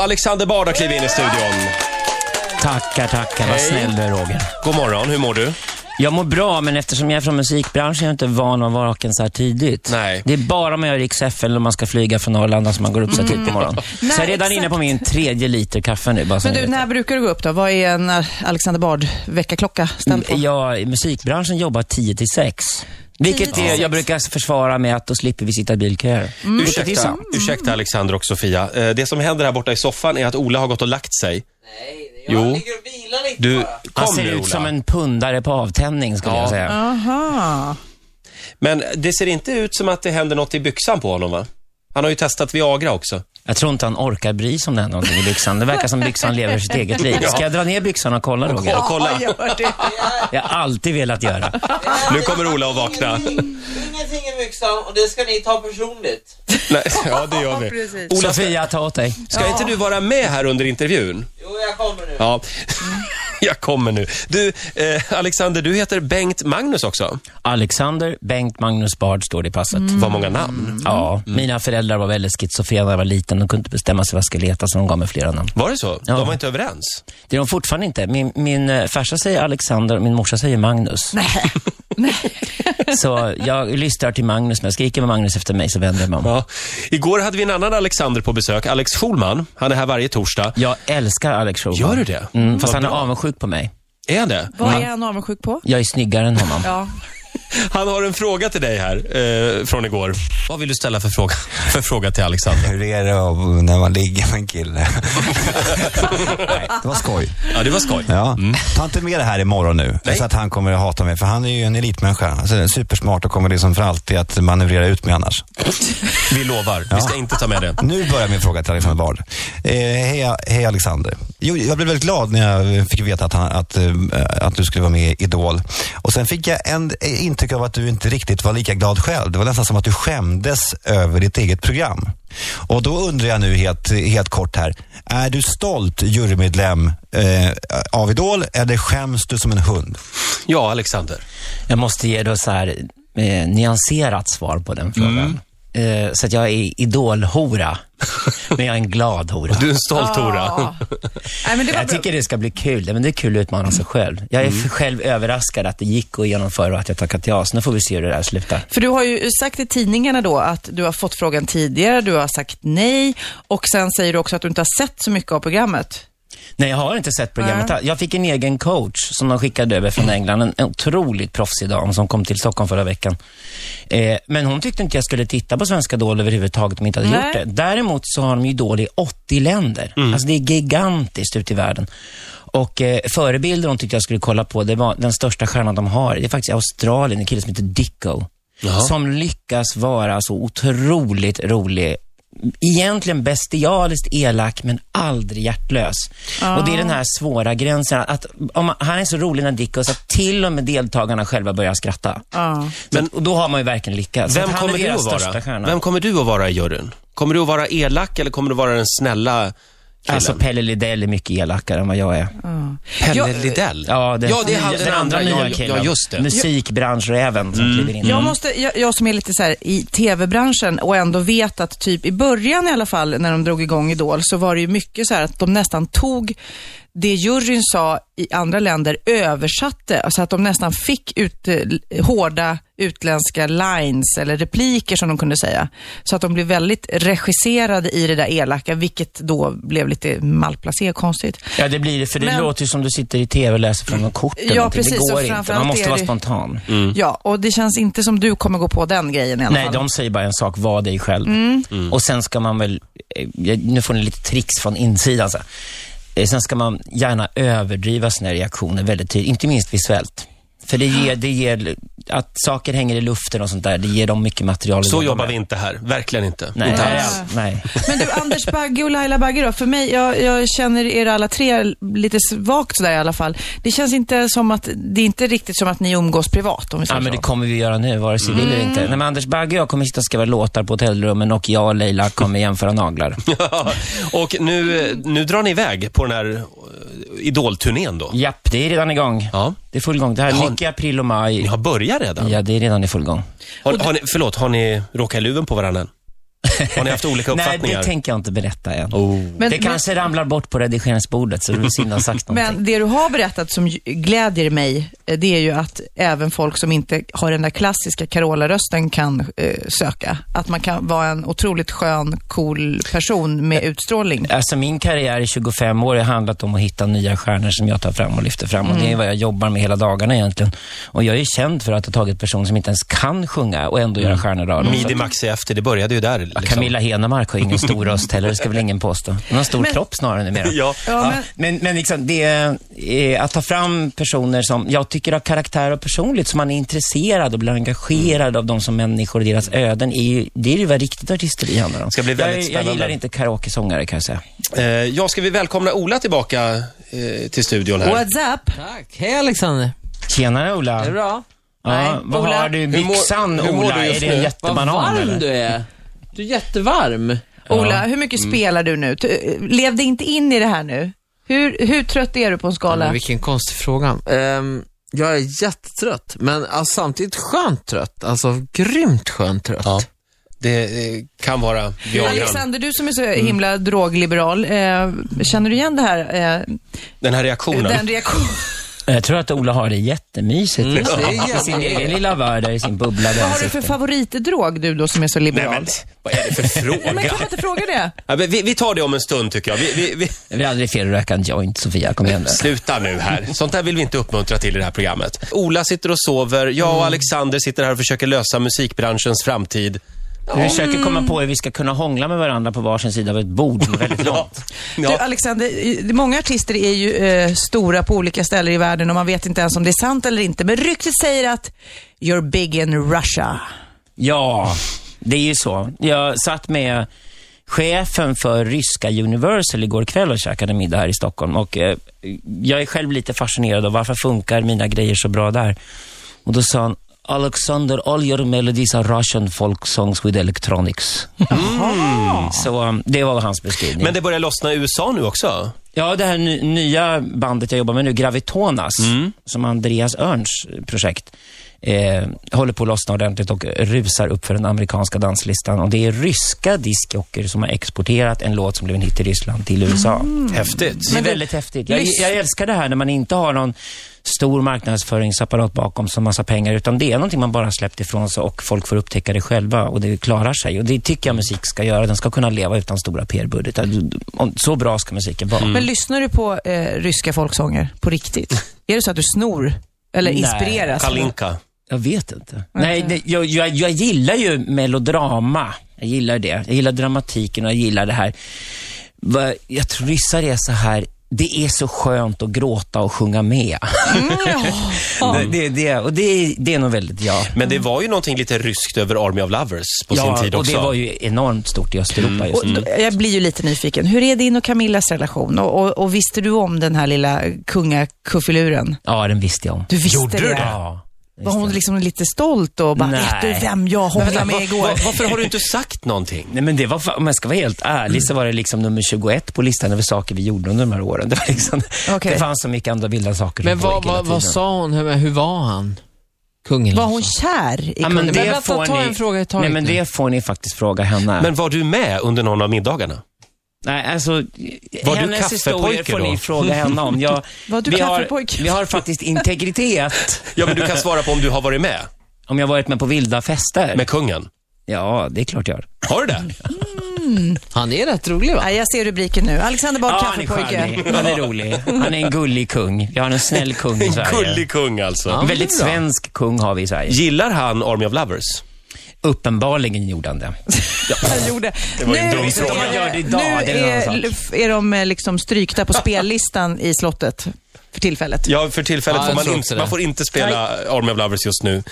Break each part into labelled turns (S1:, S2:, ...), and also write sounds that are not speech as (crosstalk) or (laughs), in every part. S1: Alexander Bard har klivit in i studion.
S2: Tackar, tackar. Vad
S1: Hej.
S2: snäll du är, Roger.
S1: God morgon, hur mår du?
S2: Jag mår bra, men eftersom jag är från musikbranschen är jag inte van att vara vaken så här tidigt.
S1: Nej.
S2: Det är bara om man gör Rix FM eller om man ska flyga från Arlanda som man går upp så här tidigt på morgonen.
S3: (laughs)
S2: Så jag är
S3: Mm. Nej,
S2: redan inne på min tredje liter kaffe nu. Bara så
S3: Men
S2: ni
S3: du,
S2: vet.
S3: när brukar du gå upp då? Vad är en eh, Alexander Bard väckarklocka ställd på?
S2: Mm, jag i musikbranschen jobbar 10 till 6. Vilket
S3: 10 till
S2: är, jag
S3: sex. Mm.
S2: brukar försvara med att då slipper vi sitta i bilköer. Vilket är
S1: Ursäkta,
S2: sant.
S1: ursäkta Alexander och Sofia. Eh, Det som händer här borta i soffan är att Ola har gått och lagt sig.
S4: Nej,
S1: Jo.
S4: jag ligger och vilar lite
S1: Du,
S4: bara.
S1: kom
S2: Han ser
S1: nu
S2: ut
S1: Ola.
S2: som en pundare på avtändning skulle
S1: Ja.
S2: jag säga.
S3: Aha.
S1: Men det ser inte ut som att det händer något i byxan på honom va? Han har ju testat Viagra också.
S2: Jag tror inte han orkar bry sig om det här någonting i byxan. Det verkar som byxan lever sitt eget
S3: (laughs)
S2: liv. Ska jag dra ner byxan och kolla Roger?
S1: Och kolla,
S3: Ja, gör det.
S2: Jag har alltid velat göra.
S1: nu kommer Ola att vakna.
S4: Ingenting i byxan och det ska ni ta personligt.
S1: (laughs) Nej, ja, det gör vi.
S3: Precis.
S1: Ola, ska,
S2: Sofia, ta åt dig.
S1: ska inte du vara med här under intervjun?
S4: Jo, jag kommer nu.
S1: Ja, (laughs) jag kommer nu. Du, eh, Alexander, du heter Bengt Magnus också.
S2: Alexander Bengt Magnus Bard står det i passet.
S1: Vad många namn.
S2: Ja,
S1: Mm.
S2: mina föräldrar var väldigt schizofrena när jag var liten. De kunde inte bestämma sig vad jag skulle heta, så de gav mig flera namn.
S1: Var det så?
S2: Ja.
S1: De var inte överens?
S2: Det är de fortfarande inte. Min, min eh, farsa säger Alexander och min morsa säger Magnus.
S3: (laughs)
S2: (laughs) så jag lyssnar till Magnus, men jag skriker med Magnus efter mig så vänder jag mig om.
S1: Ja. Igår hade vi en annan Alexander på besök, Alex Schulman. Han är här varje torsdag.
S2: Jag älskar Alex Schulman.
S1: Gör du det?
S2: Mm, fast
S1: Vad
S2: han är
S1: bra.
S2: avundsjuk på mig.
S1: Är han det?
S3: Vad är han avundsjuk på?
S2: Jag är snyggare än
S1: (laughs)
S2: honom.
S3: Ja.
S1: Han har en fråga till dig här, eh, från igår. Vad vill du ställa för fråga, (laughs) för fråga till Alexander?
S5: Hur är det av- när man ligger med en kille? Nej, det var skoj.
S1: Ja, det var skoj.
S5: Ja. Ta inte med det här imorgon nu,
S1: Nej.
S5: så att han kommer att hata mig. För han är ju en elitmänniska. Alltså, den är supersmart och kommer liksom för alltid att manövrera ut mig annars.
S1: Vi lovar, vi ska inte ta med det.
S5: (laughs) Nu börjar min fråga till Alexander Bard. Eh, hej, hej Alexander. Jo, jag blev väldigt glad när jag fick veta att, han, att, eh, att du skulle vara med i Idol. Och sen fick jag en eh, intryck av att du inte riktigt var lika glad själv. Det var nästan som att du skämdes över ditt eget program. Och då undrar jag nu helt, helt kort här. Är du stolt jurymedlem eh, av Idol eller skäms du som en hund?
S1: Ja, Alexander.
S2: Jag måste ge då så här eh, nyanserat svar på
S1: Mm.
S2: den frågan. Eh, så att jag
S1: (laughs)
S2: är idolhora, men jag är en glad hora.
S1: Du är en
S2: Ah.
S1: stolt hora.
S3: Ja. Nej, men det var
S2: Jag
S3: bra.
S2: tycker det ska bli kul. Men det är kul att utmana sig själv. Jag är själv överraskad att det gick att genomföra och att jag tackat ja. Så nu får vi se hur det där slutar.
S3: För du har ju sagt i tidningarna då att du har fått frågan tidigare, du har sagt nej och sen säger du också att du inte har sett så mycket av programmet.
S2: Nej, jag har inte sett programmet. Jag fick en egen coach som de skickade över
S3: Mm.
S2: från England. En- En otroligt proffsig dam som kom till Stockholm förra veckan. Eh, men hon tyckte inte jag skulle titta på Svenska Idol överhuvudtaget om jag inte hade
S3: Nej.
S2: gjort det. Däremot så har de ju Idol i 80 länder.
S1: Mm.
S2: Alltså det är gigantiskt ute i världen. Och eh, förebilder hon tyckte jag skulle kolla på, det var den största stjärnan de har. Det är faktiskt i Australien, en kille som heter Dicko. Som lyckas vara så otroligt rolig egentligen bestialiskt elak men aldrig hjärtlös. Och det är den här svåra gränsen. Att, om man, han är så rolig när Dicko så att till och med deltagarna själva börjar skratta.
S3: Ja.
S2: Men, och då har man ju verkligen lyckats. Så
S1: Vem
S2: att han
S1: kommer,
S2: är
S1: du
S2: deras
S1: att
S2: största
S1: vara?
S2: stjärna.
S1: Vem kommer du att vara i juryn? Kommer du att vara elak eller kommer du att vara den snälla killen?
S2: Alltså Pelle Lidell är mycket elakare än vad jag är.
S1: Pelle
S3: Jag-
S1: Lidell?
S2: Ja, den,
S1: eh, ja, det är han, den, andra. ja,
S2: nya
S1: ja,
S2: killen.
S1: ja, just det. Mm.
S2: Musikbranschräven som kliver in.
S3: Jag, måste, jag, jag som är lite så här i tv-branschen och ändå vet att typ i början i alla fall när de drog igång Idol så var det ju mycket så här att de nästan tog det juryn sa i andra länder översatte, alltså att de nästan fick ut, eh, hårda utländska lines eller repliker som de kunde säga. Så att de blev väldigt regisserade i det där elaka, vilket då blev lite malplacerat och konstigt.
S2: Ja, det blir det. För det
S3: Men-
S2: låter ju som du sitter i TV och läser från något kort. eller
S3: Ja,
S2: någonting.
S3: precis,
S2: Det
S3: och
S2: går inte. Man
S3: framförallt
S2: måste
S3: är
S2: vara
S3: det-
S2: spontan.
S3: Ja, och det känns inte som du kommer gå på den grejen i alla
S2: Nej,
S3: fall.
S2: de säger bara en sak, var dig själv.
S1: Mm.
S2: Och sen ska man väl, eh, jag- nu får ni lite tricks från insidan. Så. här. Eh, Sen ska man gärna överdriva sina reaktioner väldigt tydligt, inte minst visuellt. För det ger, det ger, att saker hänger i luften och sånt där, det ger dem mycket material. att
S1: Så
S2: jobba
S1: jobbar
S2: med.
S1: vi inte här. Verkligen inte.
S2: Nej,
S1: inte
S2: nej,
S1: alls. (laughs)
S2: nej.
S3: Men du, Anders Bagge och Laila Bagge då. För mig, jag, jag känner er alla tre lite svagt sådär i alla fall. Det känns inte som att, det är inte riktigt som att ni umgås privat om vi
S2: Ja,
S3: säger
S2: men det
S3: så.
S2: kommer vi göra nu, vare sig vi vill
S3: Mm.
S2: eller inte. Nej, men Anders Bagge och jag kommer sitta och skriva låtar på hotellrummen och jag och Leila kommer jämföra naglar.
S1: och nu, eh, nu drar ni iväg på den här eh, idolturnén då.
S2: Japp, det är redan igång.
S1: Ja.
S2: Det är full gång. Det här
S1: Har-
S2: är mycket i april och maj.
S1: Ni har börjat redan?
S2: Ja, det är redan i full gång.
S1: Har, har ni, förlåt, har ni råkat i luven på varandra? än? Har ni haft olika
S2: (laughs) Nej,
S1: uppfattningar?
S2: det tänker jag inte berätta än.
S1: oh.
S3: Men-
S2: det kanske ramlar bort på redigeringsbordet, så det blir synd att ha sagt någonting.
S3: Men det du har berättat som ju- glädjer mig, eh, det är ju att även folk som inte har den där klassiska Carola-rösten kan eh, söka. Att man kan vara en otroligt skön, cool person med utstrålning.
S2: Alltså min karriär i 25 år har handlat om att hitta nya stjärnor som jag tar fram och lyfter fram. Och det
S3: Mm.
S2: är vad jag jobbar med hela dagarna egentligen. Och jag är ju känd för att ha tagit personer som inte ens kan sjunga och ändå göra stjärnor av dem. Så
S1: Mm. Midi Maxi efter, det började ju där. Liksom.
S2: Camilla Henemark har ingen stor röst heller, det ska väl ingen påstå. Hon har stor kropp snarare numera.
S1: Ja.
S3: Ja, men,
S2: Men, men liksom, det är eh, att ta fram personer som jag tycker har karaktär och personligt, som man är intresserad och blir engagerad av dem som människor och deras öden. Är ju, det är ju vad riktigt artisteri handlar om.
S1: Ska bli väldigt
S2: jag, jag
S1: spännande.
S2: gillar inte karaokesångare kan jag säga.
S1: Eh, ja, ska vi välkomna Ola tillbaka eh, till studion här?
S3: what's up?
S4: Tack. Hej Alexander.
S2: Tjenare Ola.
S4: Är det bra?
S2: Ja, vad
S3: Ola.
S2: har du i
S1: Hur mår-
S2: byxan
S1: hur mår
S2: Ola?
S1: du just
S2: Är det en
S1: nu?
S4: Vad
S2: jättebanan
S4: varm
S2: eller?
S4: du är. Du är jättevarm.
S3: Ola, hur mycket
S2: Mm.
S3: spelar du nu? T- eh, Lev dig inte in i det här nu. Hur, hur trött är du på en skala?
S4: Men vilken konstig fråga. Ehm, jag är jättetrött, men alltså, samtidigt skönt trött. Alltså grymt skönt trött.
S1: Ja. Det eh, kan vara Viagran.
S3: Alexander, du som är så himla
S1: Mm.
S3: drogliberal, eh, känner du igen det här? Eh,
S1: Den här reaktionen. (laughs)
S3: den reaktionen?
S2: Jag tror att Ola har det jättemysigt.
S1: Mm.
S2: liksom.
S4: det är
S2: I sin egen lilla värld, där i sin bubbla. där
S3: Vad
S2: han
S3: har du för
S2: sitter.
S3: favoritdrog du då som är så
S1: Nej,
S3: liberal?
S1: men, vad är det för
S2: (laughs)
S3: men
S1: fråga?
S3: kan man inte fråga det?
S1: Ja, men vi, vi tar det om en stund tycker jag. Vi, vi, vi...
S2: Det är aldrig fel att röka en joint, Sofia. Kom igen nu.
S1: Sluta nu här. Sånt där vill vi inte uppmuntra till i det här programmet. Ola sitter och sover. Jag och Alexander sitter här och försöker lösa musikbranschens framtid.
S2: Vi försöker komma på hur vi ska kunna hångla med varandra på varsin sida av ett bord som är väldigt långt.
S1: (laughs)
S3: Du,
S1: Ja.
S3: Alexander, i- många artister är ju eh, stora på olika ställen i världen och man vet inte ens om det är sant eller inte. Men ryktet säger att you're big in Russia.
S2: (laughs)
S1: Mm.
S2: Ja, det är ju så. Jag satt med chefen för ryska Universal igår kväll och käkade middag här i Stockholm. Och, eh, jag är själv lite fascinerad av varför funkar mina grejer så bra där. Och då sa han, Alexander, all your melodies are Russian folk songs with electronics. Så um, det var hans beskrivning.
S1: Men det börjar lossna i USA nu också.
S2: Ja, det här ny, nya bandet jag jobbar med nu, Gravitonas, som Andreas Örns projekt, eh, håller på att lossna ordentligt och rusar upp för den amerikanska danslistan. Och det är ryska discjockeyer som har exporterat en låt som blev en hit i Ryssland till USA.
S1: Häftigt.
S2: Det är
S3: du,
S2: väldigt häftigt. Jag,
S3: lys-
S2: jag älskar det här när man inte har någon stor marknadsföringsapparat bakom som massa pengar, utan det är någonting man bara har släppt ifrån sig och folk får upptäcka det själva och det klarar sig. Och det tycker jag musik ska göra. Den ska kunna leva utan stora PR-budgetar. Så bra ska musiken vara.
S3: Men lyssnar du på eh, ryska folksånger
S1: (laughs)
S3: på riktigt? är det så att du snor eller
S2: Nej,
S3: inspireras?
S1: Kalinka.
S2: Jag vet inte. Nej, det, jag, jag, jag gillar ju melodrama. Jag gillar det. Jag gillar dramatiken och jag gillar det här. Va, jag tror ryssar är så här, det är så skönt att gråta och sjunga med.
S3: Mm, ja.
S2: (laughs) Det, det, det, och det, det är nog väldigt, ja.
S1: Men det var ju någonting lite ryskt över Army of Lovers på
S2: ja,
S1: sin tid
S2: och
S1: också.
S2: det var ju enormt stort i Östeuropa just
S3: Och,
S2: nu.
S3: då-
S1: Mm.
S3: jag blir ju lite nyfiken. Hur är din och Camillas relation? Och, och, och visste du om den här lilla kungakuffiluren?
S2: Ja, den visste jag om.
S3: Du visste
S1: Gjorde du
S3: det?
S1: det?
S2: Ja.
S3: Var hon liksom lite stolt och bara,
S2: Nej.
S3: vet du vem jag
S1: (laughs)
S3: hånglade med igår?
S1: Va- varför har du inte sagt någonting?
S2: Nej, men det var, fa- om jag ska vara helt ärlig, så var det liksom nummer 21 på listan över saker vi gjorde under de här åren. Det, var liksom,
S3: Okej.
S2: det fanns så mycket andra vilda saker
S4: Men
S2: som
S4: vad,
S2: pågick hela
S4: vad, vad
S2: tiden.
S4: sa hon? Hur, hur var han? Kungen?
S3: Var
S4: alltså.
S3: hon kär i
S2: Ja,
S3: kungen?
S2: men
S4: Men
S2: det
S4: vänta,
S2: får
S4: ta
S2: ni...
S4: en fråga i taget
S2: Nej, men
S4: nu.
S2: det får ni faktiskt fråga henne.
S1: Men var du med under någon av middagarna?
S2: Nej, alltså,
S1: Var du
S2: hennes historier
S1: kaffepojke
S2: får
S1: då?
S2: ni fråga henne om. Jag,
S3: Var du
S2: vi, har,
S3: kaffepojke?
S2: vi har faktiskt integritet.
S1: Ja, men du (laughs) kan svara på om du har varit med
S2: Om jag varit med på vilda fester?
S1: med kungen.
S2: Ja, det är klart jag har.
S1: Har du det?
S4: Han är rätt rolig va?
S3: Nej, jag ser rubriken nu. Alexander Bard,
S1: Ah,
S2: Ja, han är
S3: kaffepojke. (laughs)
S2: charmig. Han är rolig. Han är en gullig kung. Vi har en snäll kung i
S1: En
S2: Sverige.
S1: gullig kung alltså.
S4: Ja.
S2: En väldigt
S4: det är bra.
S2: svensk kung har vi i Sverige.
S1: Gillar han Army of Lovers?
S2: Uppenbarligen gjorde han det.
S3: Han gjorde.
S1: Det var ju en
S3: Nu
S1: dum
S3: är-
S1: fråga.
S2: Man gör det idag,
S3: nu
S2: det är en
S3: är,
S2: annan
S3: är de eh, liksom strykta på spellistan i slottet för tillfället.
S1: Ja, för tillfället
S4: Ja,
S1: får
S4: jag
S1: man,
S4: tror
S1: inte,
S4: också det.
S1: man får inte spela Army of Lovers just nu.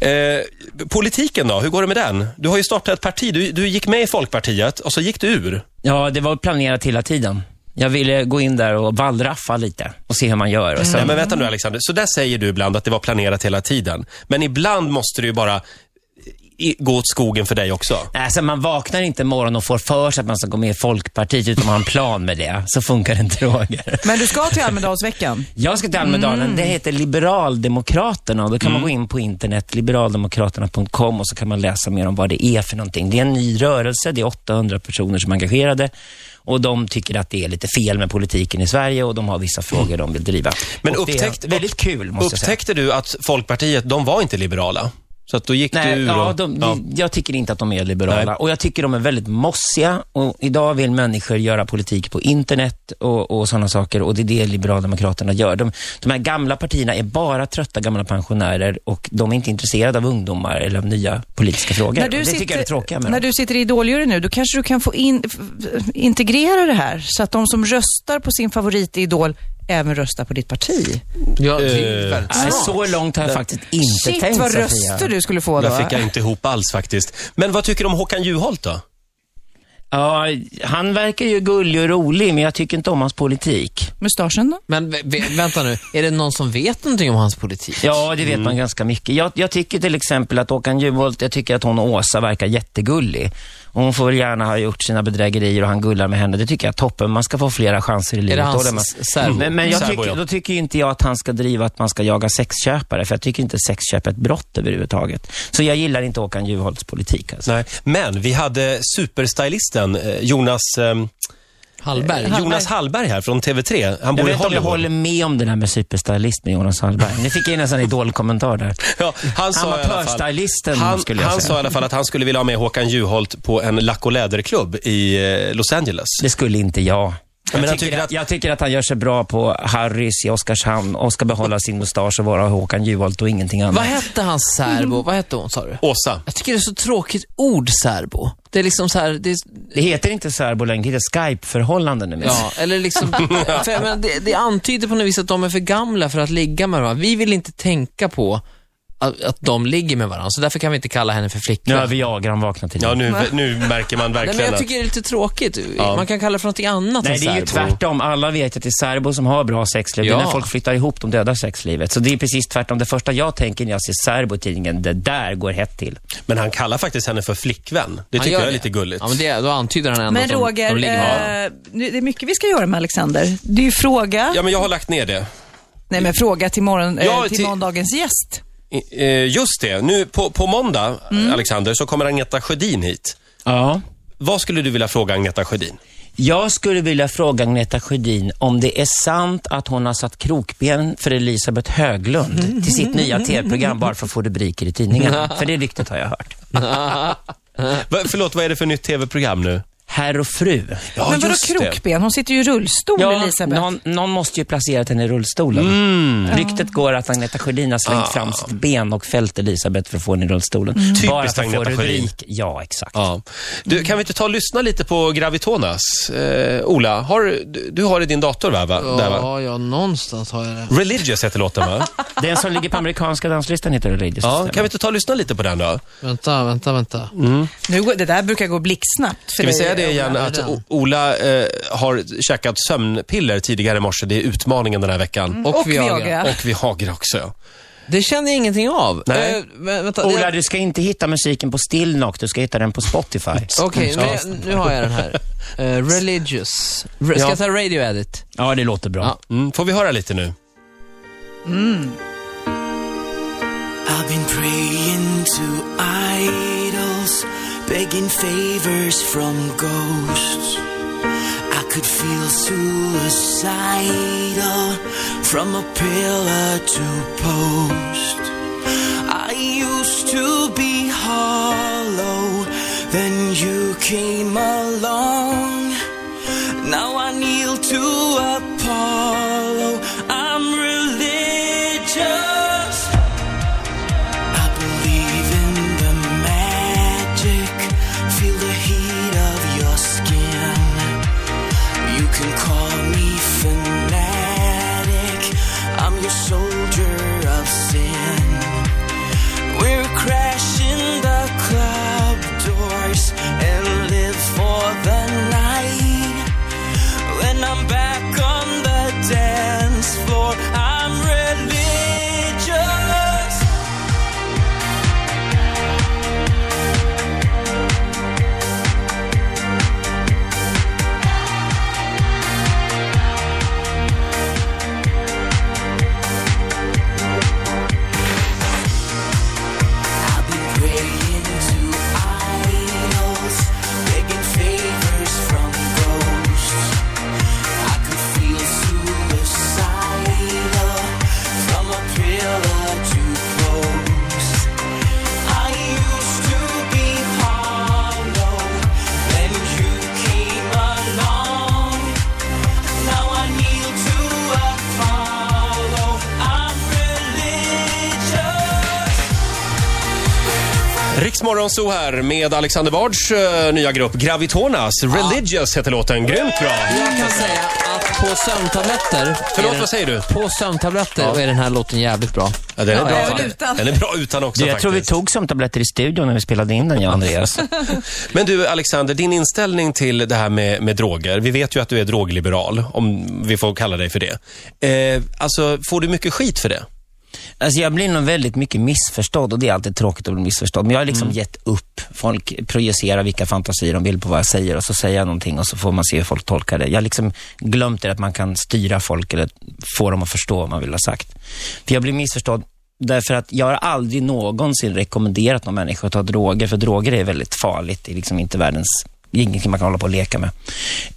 S1: Eh, politiken då, hur går det med den? Du har ju startat ett parti. Du, du gick med i Folkpartiet och så gick du ur.
S2: Ja, det var planerat hela tiden. Jag ville gå in där och vallraffa lite och se hur man gör. Och sen,
S1: Nej, men vänta nu Alexander. Så där säger du ibland att det var planerat hela tiden. Men ibland måste du ju bara eh, i- gå åt skogen för dig också?
S2: Alltså man vaknar inte imorgon och får för sig att man ska gå med i Folkpartiet utan man har en plan med det. Så funkar inte Roger.
S3: Men du ska till Almedalsveckan?
S2: Jag ska till Almedalen. Det heter Liberaldemokraterna och då kan man gå in på internet, liberaldemokraterna.com och så kan man läsa mer om vad det är för någonting. Det är en ny rörelse, det är 800 personer som är engagerade och de tycker att det är lite fel med politiken i Sverige och de har vissa frågor de vill driva.
S1: Men
S2: Och
S1: upptäckt-
S2: det är väldigt kul måste jag säga.
S1: Upptäckte du att Folkpartiet, de var inte liberala? Så att då gick
S2: Nej,
S1: du ur
S2: ja,
S1: och,
S2: de,
S1: ja.
S2: Jag tycker inte att de är liberala
S1: Nej.
S2: och jag tycker de är väldigt mossiga. Och idag vill människor göra politik på internet och, och sådana saker och det är det Liberaldemokraterna gör. De, de här gamla partierna är bara trötta gamla pensionärer och de är inte intresserade av ungdomar eller av nya politiska frågor. Och det tycker jag är tråkigt med
S3: När
S2: dem.
S3: du sitter i idoljury nu, då kanske du kan få in, f- f- integrera det här så att de som röstar på sin favorit i Idol även röstar på ditt parti.
S4: Ja, det är
S1: Eh.
S4: ju väldigt
S2: Nej,
S4: smart.
S2: så långt har jag faktiskt inte
S3: Shit,
S2: tänkt
S3: vad
S2: Sofia.
S3: röster du skulle få då.
S1: Där fick jag inte ihop alls faktiskt. Men vad tycker du om Håkan Juholt då?
S2: Ja, han verkar ju gullig och rolig men jag tycker inte om hans politik.
S3: Mustaschen då?
S4: Men vä- vä- vänta nu, är det någon som vet någonting om hans politik?
S2: Ja, det vet man ganska mycket. Jag, jag tycker till exempel att Håkan Juholt, jag tycker att hon och Åsa verkar jättegullig. Och hon får väl gärna ha gjort sina bedrägerier och han gullar med henne. Det tycker jag är toppen. Man ska få flera chanser i livet.
S4: det hans
S2: håller man. Mm.
S4: s- särbo?
S2: Men, men jag
S1: Särbo, ja.
S2: tycker, då tycker ju inte jag att han ska driva att man ska jaga sexköpare. För jag tycker inte sexköp är ett brott överhuvudtaget. Så jag gillar inte Håkan Juholts politik. Alltså.
S1: Nej. Men vi hade superstylisten eh, Jonas, ehm,
S4: Hallberg?
S1: Jonas Hallberg här från TV3. Han
S2: Jag
S1: bor i
S2: vet inte om du
S1: Hollywood.
S2: håller med om det där med superstylist med Jonas Hallberg. Nu fick jag ju nästan en idolkommentar där.
S1: Ja, han sa i alla fall-
S2: Amatörstylisten
S1: han,
S2: skulle jag
S1: han
S2: säga.
S1: sa i alla fall att han skulle vilja ha med Håkan Juholt på en lack och läderklubb i eh, Los Angeles.
S2: Det skulle inte jag. Jag,
S1: men han
S2: tycker
S1: tycker
S2: att,
S1: att-
S2: jag tycker att han gör sig bra på Harrys i Oskarshamn och ska behålla sin mustasch och vara Håkan Juholt och ingenting annat.
S4: Vad hette hans särbo? Vad hette hon sa du?
S1: Åsa.
S4: Jag tycker det är så tråkigt ord särbo. Det är liksom så här, det är,
S2: Det heter inte särbo längre, det heter Skype-förhållanden numera.
S4: ja, eller liksom, för jag menar, det, det antyder på något vis att de är för gamla för att ligga med varandra. Vi vill inte tänka på att, att de ligger med varandra, så därför kan vi inte kalla henne för
S2: Nu har
S4: flickvän.
S2: Viagra vaknat till
S1: Ja,
S2: liv.
S1: nu, nu märker man
S4: Nej, men
S1: verkligen
S4: jag
S1: att...
S4: tycker det är lite tråkigt. Man kan kalla det för någonting annat
S2: Nej,
S4: än
S2: det är ju
S4: särbo.
S2: tvärtom. Alla vet att det är särbo som har bra sexliv. Det är
S4: Ja.
S2: när folk flyttar ihop, de dödar sexlivet. Så det är precis tvärtom. Det första jag tänker när jag ser särbo i tidningen, det där går hett till.
S1: Men han kallar faktiskt henne för flickvän. Det
S4: Han
S1: tycker
S4: gör
S1: jag är
S4: det.
S1: lite gulligt.
S4: Ja, men det, då antyder han ändå
S3: Men
S4: att de,
S3: Roger,
S4: de ligger med varandra.
S3: eh, nu- det är mycket vi ska göra med Alexander. Det är ju fråga,
S1: Ja, men jag har lagt ner det.
S3: nej men fråga till, morgon, eh,
S1: Ja,
S3: till
S1: till-
S3: måndagens gäst.
S1: I- eh, Just det. Nu på, på måndag,
S4: Mm.
S1: Alexander, så kommer Agneta Sjödin hit.
S2: Ja.
S1: Vad skulle du vilja fråga Agneta Sjödin?
S2: Jag skulle vilja fråga Agneta Sjödin om det är sant att hon har satt krokben för Elisabeth Höglund till sitt nya tv-program bara för att få rubriker i tidningarna. För det ryktet har jag hört.
S1: Va, förlåt, vad är det för nytt tv-program nu?
S2: Herr och fru.
S1: Ja,
S3: men vadå
S1: just det.
S3: krokben? Hon sitter ju i rullstol, Elisabeth.
S2: någon, någon måste ju placerat henne i rullstolen.
S1: Mm.
S2: Ryktet går att Agneta Sjödin har slängt fram sitt ben och fällt Elisabeth för att få henne i rullstolen. Bara för att få
S1: Mm. Agneta Sjödin.
S2: rubrik. Ja, exakt.
S1: Ja. Du, kan vi inte ta och lyssna lite på Gravitonas? Eh, Ola, har, du, du har i din dator va? va? Där, va?
S4: Ja, ja, någonstans har jag det.
S1: Religious heter låten va?
S2: Den som ligger på amerikanska danslistan heter Religious.
S1: Ja, kan vi inte ta och lyssna lite på den då?
S4: Vänta, vänta, vänta.
S3: Mm. Nu, går- det där brukar gå blixtsnabbt för
S1: Ska vi
S3: dig,
S1: säga det igen
S4: Ola,
S1: att
S4: den.
S1: O- Ola eh, har käkat sömnpiller tidigare i morse. Det är utmaningen den här veckan.
S4: Mm.
S3: Och Viagra.
S1: Och vi hager också. ja.
S4: Det känner jag ingenting av.
S1: Nej.
S4: Eh, vä- vänta,
S2: Ola,
S4: jag-
S2: du ska inte hitta musiken på Stillnock, du ska hitta den på Spotify.
S4: Okej,
S2: Mm,
S4: nu, nu har jag den här.
S2: (laughs)
S4: Eh, religious. Re- Ska
S2: Ja.
S4: jag ta radio edit?
S2: Ja, det låter bra.
S4: Ja.
S1: Mm, får vi höra lite nu?
S6: I've been praying to idols, begging favors from ghosts. I could feel suicidal from a pillar to post. I used to be hollow, then you came along. Now I kneel to Apollo. I'm religious. I believe in the magic. Feel the heat of your skin. You can call me fanatic. I'm your soldier of sin. We're crashing the club doors and live
S1: Riksmorgon så här med Alexander Bards eh, nya grupp Gravitonas. Religious heter låten. Grymt bra!
S4: Jag kan säga att på sömntabletter...
S1: Förlåt,
S4: är den-
S1: vad säger du?
S4: På sömntabletter är den här låten jävligt bra.
S1: Ja, den, är bra.
S3: även utan.
S1: den är bra utan också
S2: Du, jag tror vi
S1: faktiskt.
S2: tog sömntabletter i studion när vi spelade in den, jag och Andreas.
S1: (laughs) Men du Alexander, din inställning till det här med, med droger. Vi vet ju att du är drogliberal, om vi får kalla dig för det. Eh, alltså, får du mycket skit för det?
S2: Alltså jag blir nog väldigt mycket missförstådd och det är alltid tråkigt att bli missförstådd. Men jag har liksom gett upp. Folk projicerar vilka fantasier de vill på vad jag säger och så säger jag någonting och så får man se hur folk tolkar det. Jag har liksom glömt det att man kan styra folk eller få dem att förstå vad man vill ha sagt. För jag blir missförstådd därför att jag har aldrig någonsin rekommenderat någon människa att ta droger, för droger är väldigt farligt. Det är liksom inte världens det är ingenting man kan hålla på och leka med.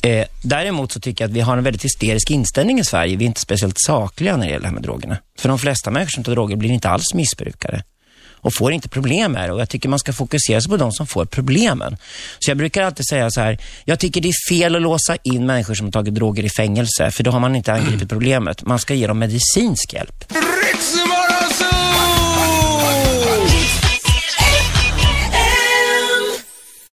S2: Eh, däremot så tycker jag att vi har en väldigt hysterisk inställning i Sverige. Vi är inte speciellt sakliga när det gäller det här med drogerna. För de flesta människor som tar droger blir inte alls missbrukare och får inte problem med det. Och jag tycker man ska fokusera sig på de som får problemen. Så jag brukar alltid säga så här, jag tycker det är fel att låsa in människor som har tagit droger i fängelse, för då har man inte angripit problemet. Man ska ge dem medicinsk hjälp.